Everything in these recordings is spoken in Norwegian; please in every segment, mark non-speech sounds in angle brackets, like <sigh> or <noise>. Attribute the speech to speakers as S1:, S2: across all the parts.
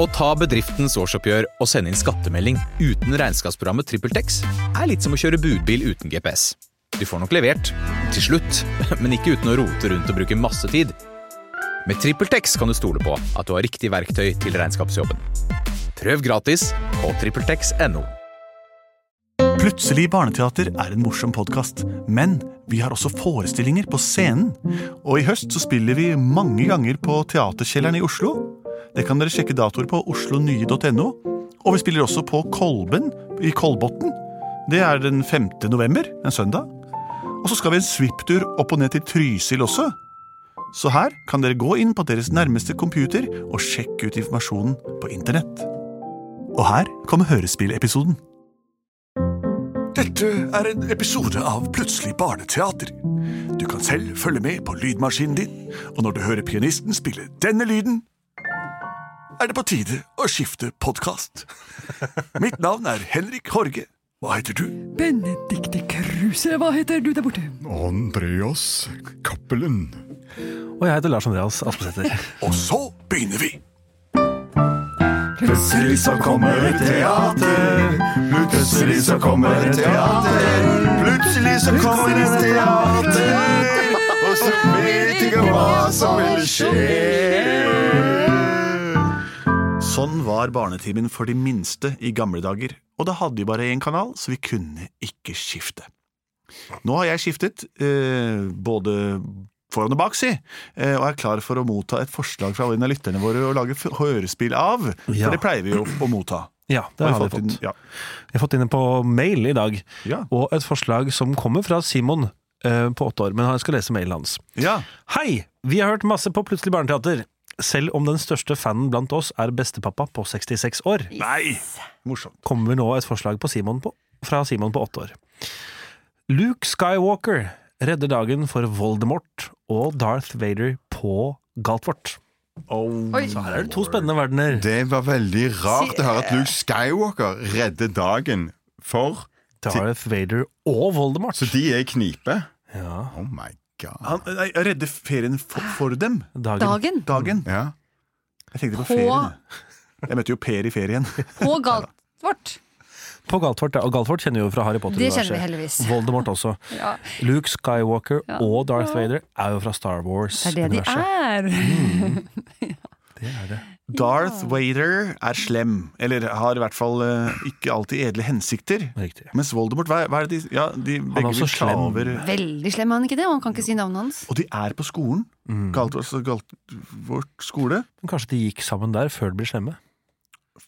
S1: Å ta bedriftens årsoppgjør og sende inn skattemelding uten regnskapsprogrammet TrippelTex er litt som å kjøre budbil uten GPS. Du får nok levert, til slutt, <laughs> men ikke uten å rote rundt og bruke masse tid. Med TrippelTex kan du stole på at du har riktig verktøy til regnskapsjobben. Prøv gratis på TrippelTex.no.
S2: Plutselig barneteater er en morsom podkast, men vi har også forestillinger på scenen. Og i høst så spiller vi mange ganger på Teaterkjelleren i Oslo. Det kan dere sjekke datoer på oslonye.no. Og vi spiller også på Kolben i Kolbotn. Det er den 5. november, en søndag. Og så skal vi en svipptur opp og ned til Trysil også. Så her kan dere gå inn på deres nærmeste computer og sjekke ut informasjonen på internett. Og her kommer hørespillepisoden.
S3: Dette er en episode av Plutselig barneteater. Du kan selv følge med på lydmaskinen din, og når du hører pianisten spille denne lyden, er det på tide å skifte podkast. Mitt navn er Henrik Horge. Hva heter du?
S4: Benedikte Kruse, hva heter du der borte?
S5: Andreas Cappelen.
S6: Og jeg heter Lars Andreas Aspesæter.
S3: Og så begynner vi.
S5: Plutselig så kommer et teater. Plutselig så kommer et teater. Plutselig så kommer et teater. Og så vet ikke hva som vil skje.
S2: Sånn var barnetimen for de minste i gamle dager, og da hadde vi bare én kanal, så vi kunne ikke skifte. Nå har jeg skiftet, eh, både foran og bak, si, eh, og er klar for å motta et forslag fra en av lytterne våre å lage f- hørespill av,
S6: Ja.
S2: for det pleier vi jo å motta.
S6: Ja, det har vi
S2: fått inn-
S6: fått.
S2: Ja.
S6: Jeg har fått inn en på mail i dag,
S2: Ja.
S6: og et forslag som kommer fra Simon eh, på åtte år, men jeg skal lese mailen hans.
S2: ja.
S6: Hei! Vi har hørt masse på Plutselig barneteater. Selv om den største fanen blant oss er bestepappa på 66 år,
S2: Nei! Morsomt.
S6: kommer nå et forslag på Simon på, fra Simon på åtte år. Luke Skywalker redder dagen for Voldemort og Darth Vader på Galtvort.
S4: Oi.
S2: så her er det
S6: To spennende verdener.
S5: Det var veldig rart å høre at Luke Skywalker redder dagen for
S6: Darth Vader og Voldemort.
S5: Så de er i knipe.
S6: Ja.
S5: Oh my god.
S2: Han, nei, jeg redder ferien for, for dem,
S6: Dagen.
S4: Dagen
S2: dagen.
S5: Ja.
S2: Jeg tenkte på
S4: På-
S2: ferien. jeg. Jeg møtte jo Per i ferien.
S4: på Galtvort.
S6: På Galtvort, ja. og Galtvort kjenner vi jo fra Harry
S4: Det kjenner vi
S6: Potter-universet.
S4: heldigvis. <laughs>
S6: Voldemort også.
S4: Ja.
S6: Luke Skywalker
S4: Ja.
S6: og Darth Vader er jo fra Star
S4: Det er det de
S6: Wars-universet.
S4: er.
S6: Det er det.
S2: Darth Vader er slem, eller har i hvert fall eh, ikke alltid edle hensikter.
S6: Riktig.
S2: Mens Voldemort, hva, hva er det de, ja, de
S6: er
S2: begge
S6: også
S2: blir slaver.
S4: <laughs> Veldig slem, er han ikke det? Og han kan ikke si navnet hans.
S2: Og de er på skolen.
S6: Mm.
S2: Galt, altså, galt, vårt skole.
S6: Men kanskje de gikk sammen der før de ble slemme?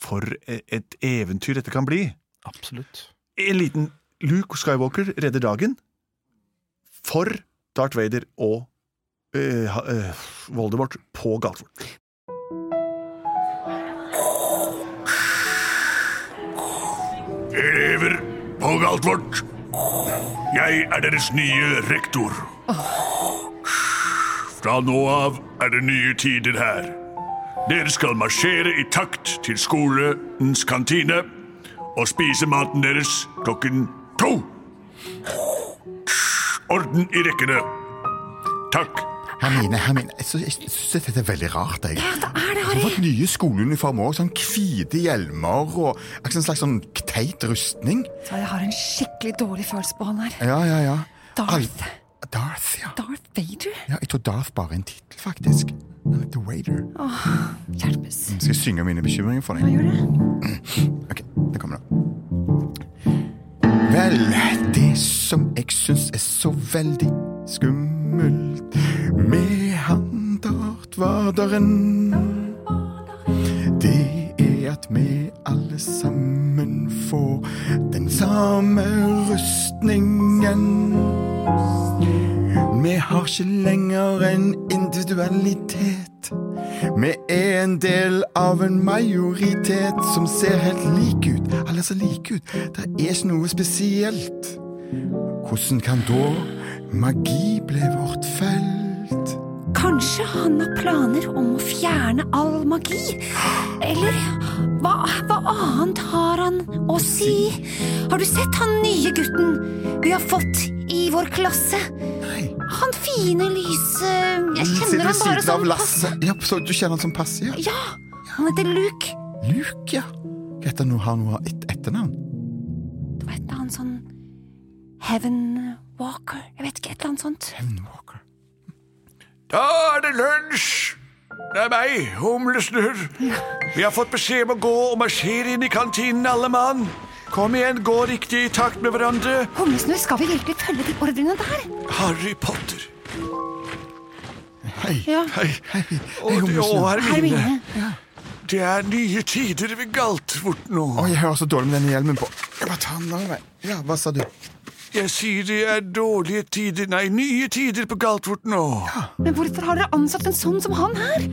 S2: For e- et eventyr dette kan bli.
S6: Absolutt.
S2: En liten Luke Skywalker redder dagen for Darth Vader og eh, ha- eh, Voldemort på Galtvort.
S3: Elever på Galtvort. Jeg er deres nye rektor. Fra nå av er det nye tider her. Dere skal marsjere i takt til skolens kantine og spise maten deres klokken to. Orden i rekkene. Takk.
S5: Hermine, Hermine, jeg sy- jeg syns dette er veldig rart. Jeg. Ja, det er det, Harry. Fått nye skoleuniformer òg. Sånn hvite hjelmer og akkurat en slags sånn teit rustning.
S4: Så jeg har en skikkelig dårlig følelse på han her.
S5: Ja, ja, ja.
S4: Darth.
S5: Al- Darth, ja.
S4: Darth Vader?
S5: ja. Jeg tror Darth bare er en tittel, faktisk. Han heter Wader.
S4: Hjelpes.
S5: Skal jeg synge mine bekymringer for deg?
S4: Gjør det?
S5: Ok, det kommer da. Vel, det som jeg syns er så veldig skummelt med han dartvaderen, det er at vi alle sammen får den samme rustningen. Vi har ikke lenger en individualitet. Vi er en del av en majoritet som ser helt lik ut. Alle ser like ut. Det er ikke noe spesielt. Hvordan kan da magi bli vårt felt?
S4: Kanskje han har planer om å fjerne all magi? Eller hva, hva annet har han å si? Har du sett han nye gutten vi har fått i vår klasse?
S5: Nei.
S4: Han fine, lyse Jeg
S5: Mm,
S4: kjenner
S5: Sitter ved
S4: han bare
S5: siden av
S4: sånn
S5: Lasse. Ja, så du kjenner han som passer? Ja.
S4: Ja, han heter Luke
S5: Luke, ja. Greit at nå har hun et etternavn.
S4: Det var et eller annet sånn Heaven Walker Jeg vet ikke, et eller annet sånt.
S5: Hevnwalker.
S3: Da er det lunsj! Det er meg, humlesnurr. Vi har fått beskjed om å gå og marsjere inn i kantinen, alle mann. Kom igjen, gå riktig i takt med hverandre.
S4: Humlesnurr, skal vi virkelig følge de ordrene der?
S3: Harry Potter.
S5: Hei.
S4: Ja,
S3: Hei,
S5: Hei, hei,
S3: og, og
S5: Humlesnurr.
S3: Hermine.
S4: Hermine.
S3: Det er nye tider ved Galtvort nå.
S5: Å, jeg hører så dårlig med denne hjelmen på. Jeg bare tar den av meg. Ja, hva sa du?
S3: Jeg sier det er dårlige tider, nei, nye tider på Galtvort nå.
S4: Men hvorfor har dere ansatt en sånn som han her?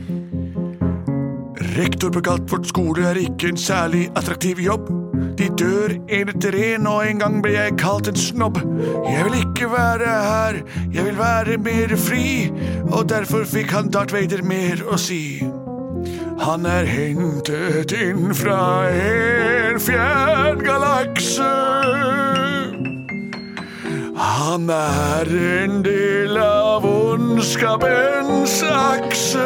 S3: Rektor på Galtvort skole er ikke en særlig attraktiv jobb. De dør en etter en, og en gang ble jeg kalt en snobb. Jeg vil ikke være her, jeg vil være mer fri, og derfor fikk han Darth Vader mer å si. Han er hentet inn fra en fjern galakse. Han er en del av ondskapens akse.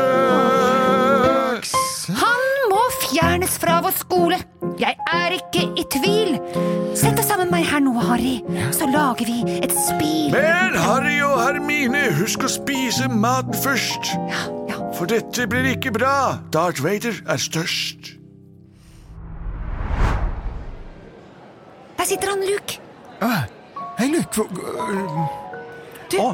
S4: Han må fjernes fra vår skole. Jeg er ikke i tvil. Sett deg sammen med meg her nå, Harry, så lager vi et spil.
S3: Men Harry og Hermine, husk å spise maten først.
S4: Ja, ja.
S3: For dette blir ikke bra. Darth Vader er størst.
S4: Der sitter han, Luke.
S5: Hei, Luke. Hvor, øh,
S2: Å,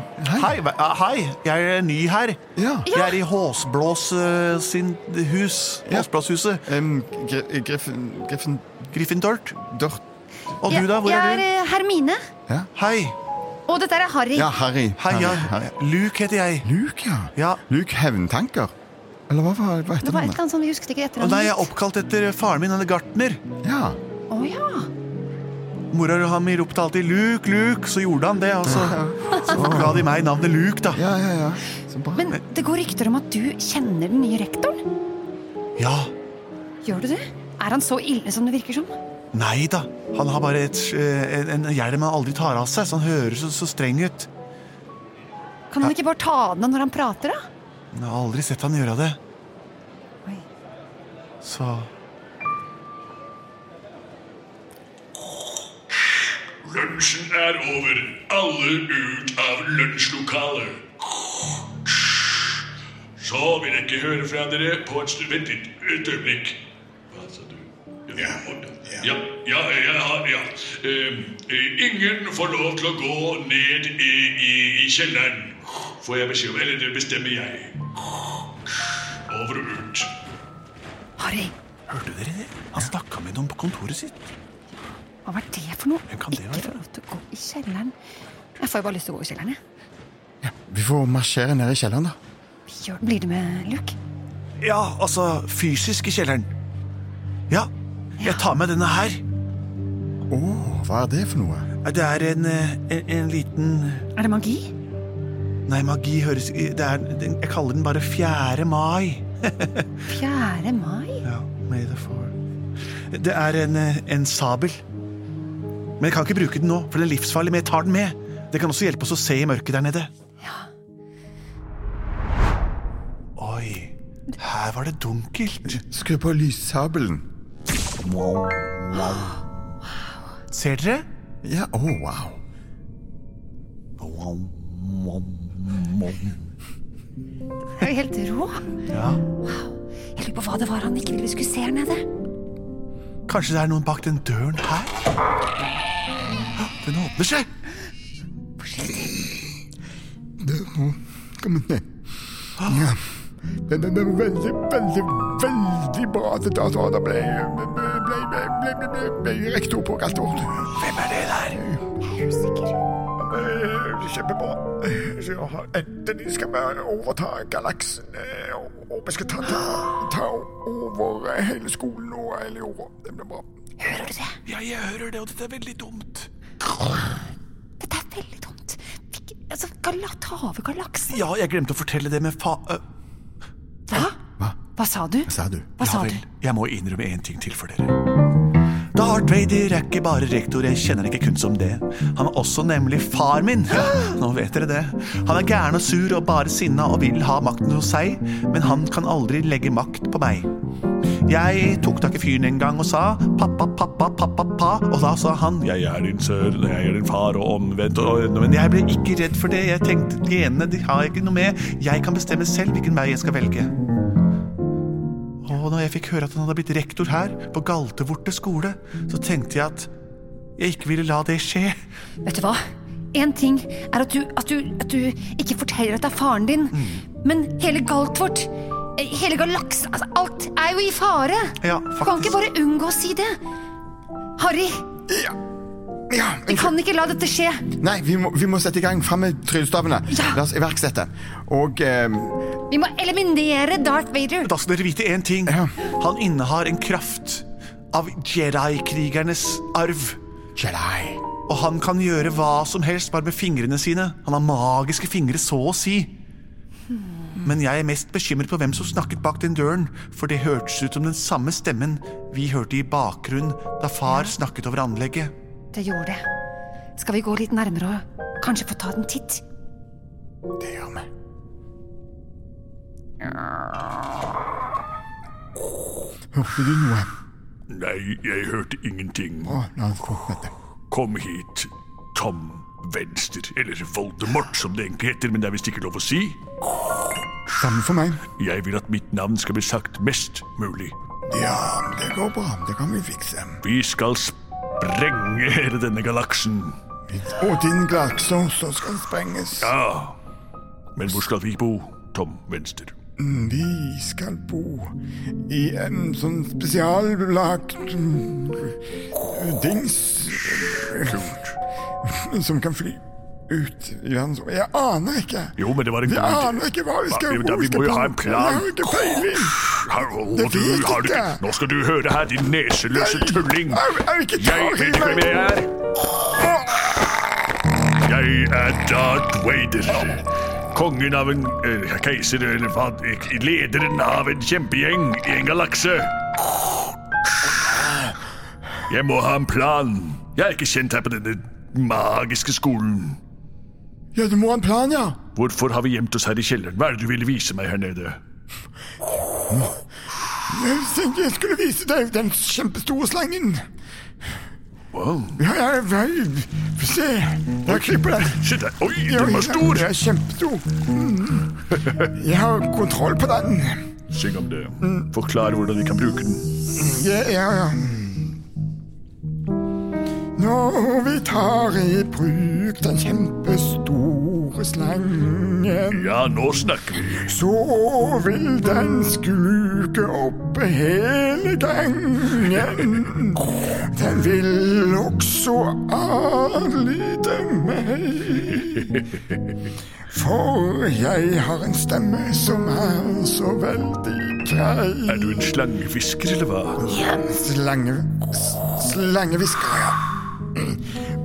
S2: hei. hva- ah, hei, jeg er ny her.
S5: ja.
S2: Jeg er i Håsblås eh, sin hus.
S5: Ja.
S2: Håsblåshuset.
S5: Um, gri, griffen, griffen
S2: Gryffindort.
S5: Dort.
S2: Og du, da? Hvor
S4: jeg
S2: er
S4: er
S2: du?
S4: eh, Hermine,
S2: Hei.
S4: og dette er Harry.
S5: Ja, Harry.
S2: Hei,
S5: Harry,
S2: ja.
S5: Harry.
S2: Luke heter jeg.
S5: Luke, ja.
S2: Ja.
S5: Luke Hevntanker. Eller hva var hva
S4: Det var et
S5: etternavnet?
S4: eller annet sånn, vi husket ikke etter
S2: Og nei, jeg er oppkalt etter faren min, han er gartner.
S5: Ja.
S4: Å ja.
S2: Mora og ham ropte alltid 'Luke, Luke', så gjorde han det. Og så, så ga de meg navnet Luke, da.
S5: ja, ja, ja. Så bra.
S4: Men det går rykter om at du kjenner den nye rektoren.
S2: Ja.
S4: Gjør du det? Er han så ille som det virker som?
S2: Nei da. Han har bare et, eh, en, en hjelm han aldri tar av seg, så han høres så, så streng ut.
S4: Kan han ikke bare ta av den av når han prater, da?
S2: Jeg har aldri sett han gjøre det.
S4: Oi.
S2: Så
S7: Lunsjen er over. Alle ut av lunsjlokalet. Så vil jeg ikke høre fra dere på et stund. Vent litt, et øyeblikk. Hva sa du? Ja, ja, ja, ja, ja. Ehm, eh, ingen får lov til å gå ned i, i, i kjelleren, får jeg beskjed om. Eller det bestemmer jeg. Over og ut.
S4: Harry,
S2: Hørte dere det? Han snakka med noen på kontoret sitt.
S4: hva var det for noe?
S2: Hvem kan det
S4: ikke
S2: være?
S4: få lov til å gå i kjelleren. Jeg får jo bare lyst til å gå i kjelleren, jeg.
S5: Vi får marsjere ned i kjelleren, da.
S4: Gjør- Blir det med Luke?
S2: Ja, altså fysisk i kjelleren. Ja, jeg tar med denne her.
S5: Åh, hva er det for noe?
S2: Det er en, eh, en, en liten
S4: Er det magi?
S2: Nei, magi høres det er, den- Jeg kaller den bare 4. mai.
S4: 4. mai?
S2: Ja, may the four. Det er en, eh, en sabel. Men jeg kan ikke bruke den nå, for den er livsfarlig. Men jeg tar den med. Det kan også hjelpe oss å se i mørket der nede.
S4: Ja.
S2: Oi, her var det dunkelt.
S5: Skru på lyssabelen.
S2: Ser dere?
S5: Ja, åh, wow.
S4: Det er jo helt rå.
S2: Ja.
S4: Jeg lurer på hva det var han ikke ville vi skulle se her nede.
S2: Kanskje det er noen bak den døren her? Hå, Den åpner seg!
S5: Det må komme ned. Ja. Det, det, det var veldig, veldig, veldig bra at dataene ble, ble, ble, ble, ble, ble, ble, ble rektor på Galtvort. Hvem er det der?
S4: Jeg er usikker.
S5: Eh, Kjempebra. Eh, Så jeg har endelig skal vi overta galaksen, eh, og, og vi skal ta, ta, ta over eh, hele skolen og hele jorda. Det blir bra.
S4: Hører du det?
S3: Ja, jeg hører det, og dette er veldig dumt.
S4: Dette er veldig dumt. Fikk, altså, Galatave-galaksen.
S2: Ja, jeg glemte å fortelle det med fa... øh,
S4: Hva? Hva? sa du?
S5: Hva sa du?
S4: Hva sa
S2: ja
S4: du?
S2: vel, jeg må innrømme én ting til for dere. Darth Vader er ikke bare rektor, jeg kjenner ikke kun som det. Han er også nemlig far min. Ja, nå vet dere det. Han er gæren og sur og bare sinna og vil ha makten hos seg, men han kan aldri legge makt på meg. Jeg tok tak i fyren en gang og sa pappa, pappa, pappa, pa. Og da sa han jeg er din sønn, og jeg er din far, og omvendt. Og, men jeg ble ikke redd for det. Jeg tenkte genene de har jeg ikke noe med. Jeg kan bestemme selv hvilken vei jeg skal velge. Og når jeg fikk høre at han hadde blitt rektor her, på Galtevorte skole, så tenkte jeg at jeg ikke ville la det skje.
S4: Vet du hva? Én ting er at du, at, du, at du ikke forteller at det er faren din,
S5: Mm.
S4: men hele Galtvort, eh, hele Galaks, altså alt er jo i fare.
S2: Ja,
S4: du kan
S2: faktisk.
S4: ikke bare unngå å si det. Harry,
S5: Ja,
S4: vi
S5: unnskyld.
S4: kan ikke la dette skje.
S5: Nei, vi må, vi må sette i gang. Fram med tryllestavene.
S4: Ja.
S5: La oss iverksette. Og eh,
S4: Vi må eliminere Darth Vader.
S2: Da skal dere vite én ting.
S5: Ja.
S2: Han innehar en kraft av Jedi-krigernes arv.
S5: Jedi.
S2: Og han kan gjøre hva som helst bare med fingrene sine. Han har magiske fingre, så å si. Men jeg er mest bekymret på hvem som snakket bak den døren, for det hørtes ut som den samme stemmen vi hørte i bakgrunnen da far snakket over anlegget.
S4: Det gjorde det. Skal vi gå litt nærmere og kanskje få ta en titt?
S5: Det gjør vi. Hørte du noe?
S7: Nei, jeg hørte ingenting.
S5: Å, la oss gå med det.
S7: Kom hit, Tom Venstre. Eller Voldemort, som det egentlig heter, men det er visst ikke lov å si.
S5: Samme for meg.
S7: Jeg vil at mitt navn skal bli sagt mest mulig.
S5: Ja, det går bra. Det kan vi fikse.
S7: Vi skal sprenge hele denne galaksen.
S5: Og din galakse også skal sprenges.
S7: Ja. Ah. Men hvor skal vi bo, Tom Venstre?
S5: Vi skal bo i en sånn spesiallagt mm, dings
S7: Kult.
S5: som kan fly ut i verdens Jeg aner ikke.
S7: Jo, men det var en
S5: Vi
S7: god idé.
S5: aner ikke hva vi skal
S7: Ja,
S5: hvor
S7: vi
S5: vi skal
S7: må jo ha
S5: bo.
S7: en plan.
S5: Jeg har ikke peiling. Det
S7: Hallo,
S5: vet
S7: du, har du
S5: ikke.
S7: ikke Nå skal du høre her, din neseløse
S5: Nei,
S7: tulling.
S5: jeg vil ikke ta
S7: Jeg
S5: i
S7: vet ikke hvem
S5: meg.
S7: jeg er. Jeg er Darth Vader. Kongen av en eh, keiser, eller hva eh, Lederen av en kjempegjeng i en galakse. Jeg må ha en plan. Jeg er ikke kjent her på denne magiske skolen.
S5: Ja, du må ha en plan, ja.
S7: Hvorfor har vi gjemt oss her i kjelleren? Hva er det du ville vise meg her nede?
S5: Jeg tenkte jeg skulle vise deg den kjempestore slangen.
S7: Wow.
S5: Ja, jeg, jeg, se, der kryper den.
S7: Shit, der- oi,
S5: Ja,
S7: den var stor!
S5: Den er kjempestor. Mm. Jeg har kontroll på den.
S7: Syng om det. Forklar hvordan vi kan bruke den.
S5: Ja, ja, ja. Når vi tar i bruk den kjempestore slangen,
S7: Ja, nå snakker vi.
S5: så vil den skluke opp hele gangen. Den vil også adlyde meg. For jeg har en stemme som er så veldig grei.
S7: Er du en slangefisker, eller hva?
S5: Slange... s- Slangevisker, ja.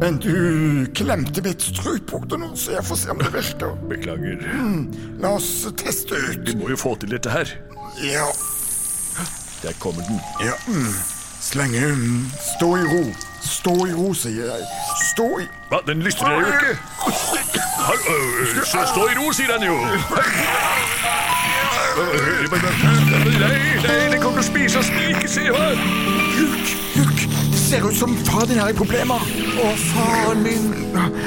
S5: Men du klemte mitt strupehode nå, så jeg får se om det virker.
S7: Beklager.
S5: La oss teste ut.
S7: Vi må jo få til dette her.
S5: Ja.
S7: Der kommer den.
S5: ja. mm. Slenge mm. Stå i ro. Stå i ro, sier jeg. Stå i
S7: Hva, den lytter jeg jo ikke. Hal- ø, ø, så Stå i ro, sier han jo. Nei, nei, den kommer til å spise oss. Ikke se her.
S5: Luke, Luke, det ser ut som far din er i problemer. Å, faren min.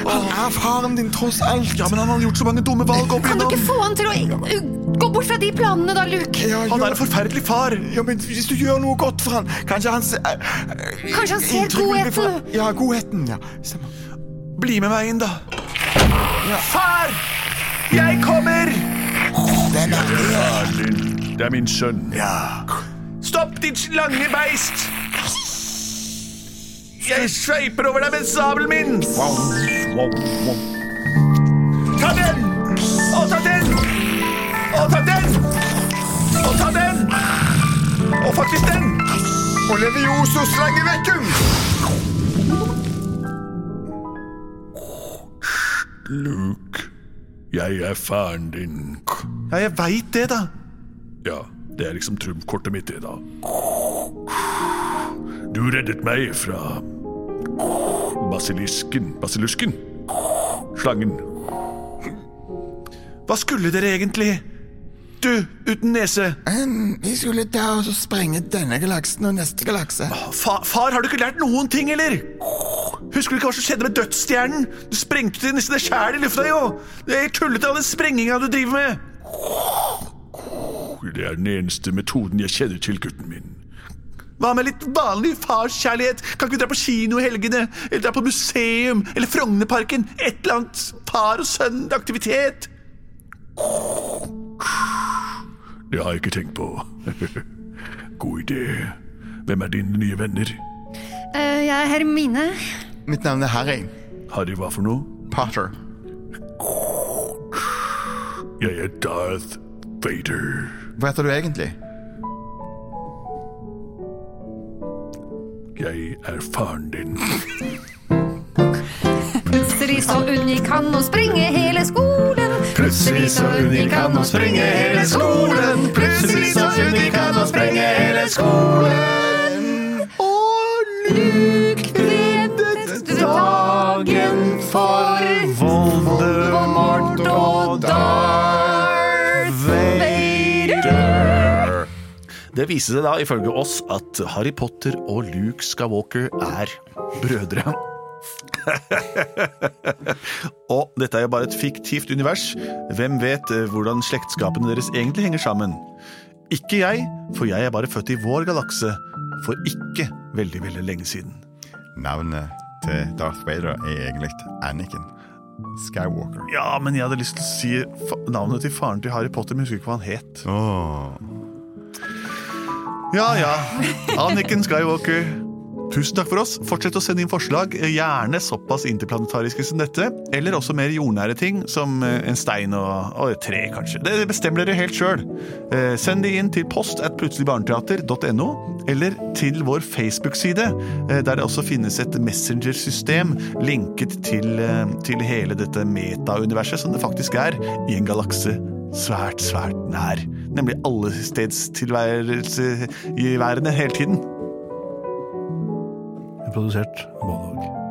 S5: Han er faren din, tross alt.
S2: Ja, men han har gjort så mange dumme valg opp
S4: Kan du ikke
S2: igjennom.
S4: få han til å uh, gå bort fra de planene da, Luke?
S5: Ja,
S2: Han
S5: jo.
S2: er en forferdelig far.
S5: Ja, men Hvis du gjør noe godt for han Kanskje han ser Kanskje
S4: han ser godheten.
S5: Ja, godheten. ja Stemmer.
S2: Bli med meg inn, da. Far! Jeg kommer!
S5: Den er
S7: Faren din. Det er min sønn.
S2: Stopp, ditt slange beist! Jeg sveiper over deg med sabelen min! Ta den! Og ta den! Og ta den! Og ta den! Og faktisk den!
S5: Og mm. Levioso slangevekkum!
S7: Luke, jeg er faren din.
S2: Ja, jeg veit det, da.
S7: Ja, det er liksom trumkortet mitt, det, da. Du reddet meg fra basilisken Basilusken? Slangen.
S2: Hva skulle dere egentlig? Du
S3: du, uten nese?
S5: Em, Vi skulle ta og så sprenge denne galaksen og neste galakse.
S3: Fa far, har du ikke lært noen ting, eller? Husker du ikke hva som skjedde med dødsstjernen? Du sprengte det nesten sjæl i lufta, jo! Det er tullete, all den sprenginga du driver med.
S7: Det er den eneste metoden jeg kjenner til, gutten min.
S3: Hva med litt vanlig farskjærlighet? Kan ikke vi dra på kino i helgene? Eller dra på museum? Eller Frognerparken? Et eller annet far og sønn-aktivitet?
S7: Det har jeg ikke tenkt på. <laughs> God idé. Hvem er dine nye venner?
S4: Eh, jeg er Hermine.
S5: Mitt navn er Harry
S7: Harry, hva for noe?
S5: Potter.
S7: Jeg er Darth Vader.
S5: Hva heter du egentlig?
S7: Jeg er faren din.
S4: Plutselig så unngikk han å sprenge hele skolen. Plutselig så unngikk han å sprenge hele skolen. Plutselig så unngikk han å sprenge hele skolen. Og Luke ventet dagen for Voldemort og Darth Vader.
S2: Det viser seg da ifølge oss at Harry Potter og Luke Skywalker er brødre. og dette er jo bare et fiktivt univers. Hvem vet eh, hvordan slektskapene deres egentlig henger sammen? Ikke jeg, for jeg er bare født i vår galakse for ikke veldig, veldig lenge siden.
S5: Navnet til Darth Vader er egentlig Anniken Skywalker.
S2: Ja, men jeg hadde lyst til å si fa navnet til faren til Harry Potter, men jeg husker ikke hva han het.
S5: Åh.
S2: Ja, ja. Anniken Skywalker. Tusen takk for oss. Fortsett å sende inn forslag, eh, gjerne såpass interplanetariske som dette, eller også mer jordnære ting, som eh, en stein og, og et tre, kanskje. Det bestemmer dere helt sjøl. Eh, send de inn til post at plutseligbarneteater.no, eller til vår Facebook-side, eh, der det også finnes et messengersystem linket til, eh, til hele dette metauniverset, som det faktisk er, i en galakse svært, svært nær. Nemlig alle stedstilværelse i verden hele tiden.
S6: Produsert av Både og.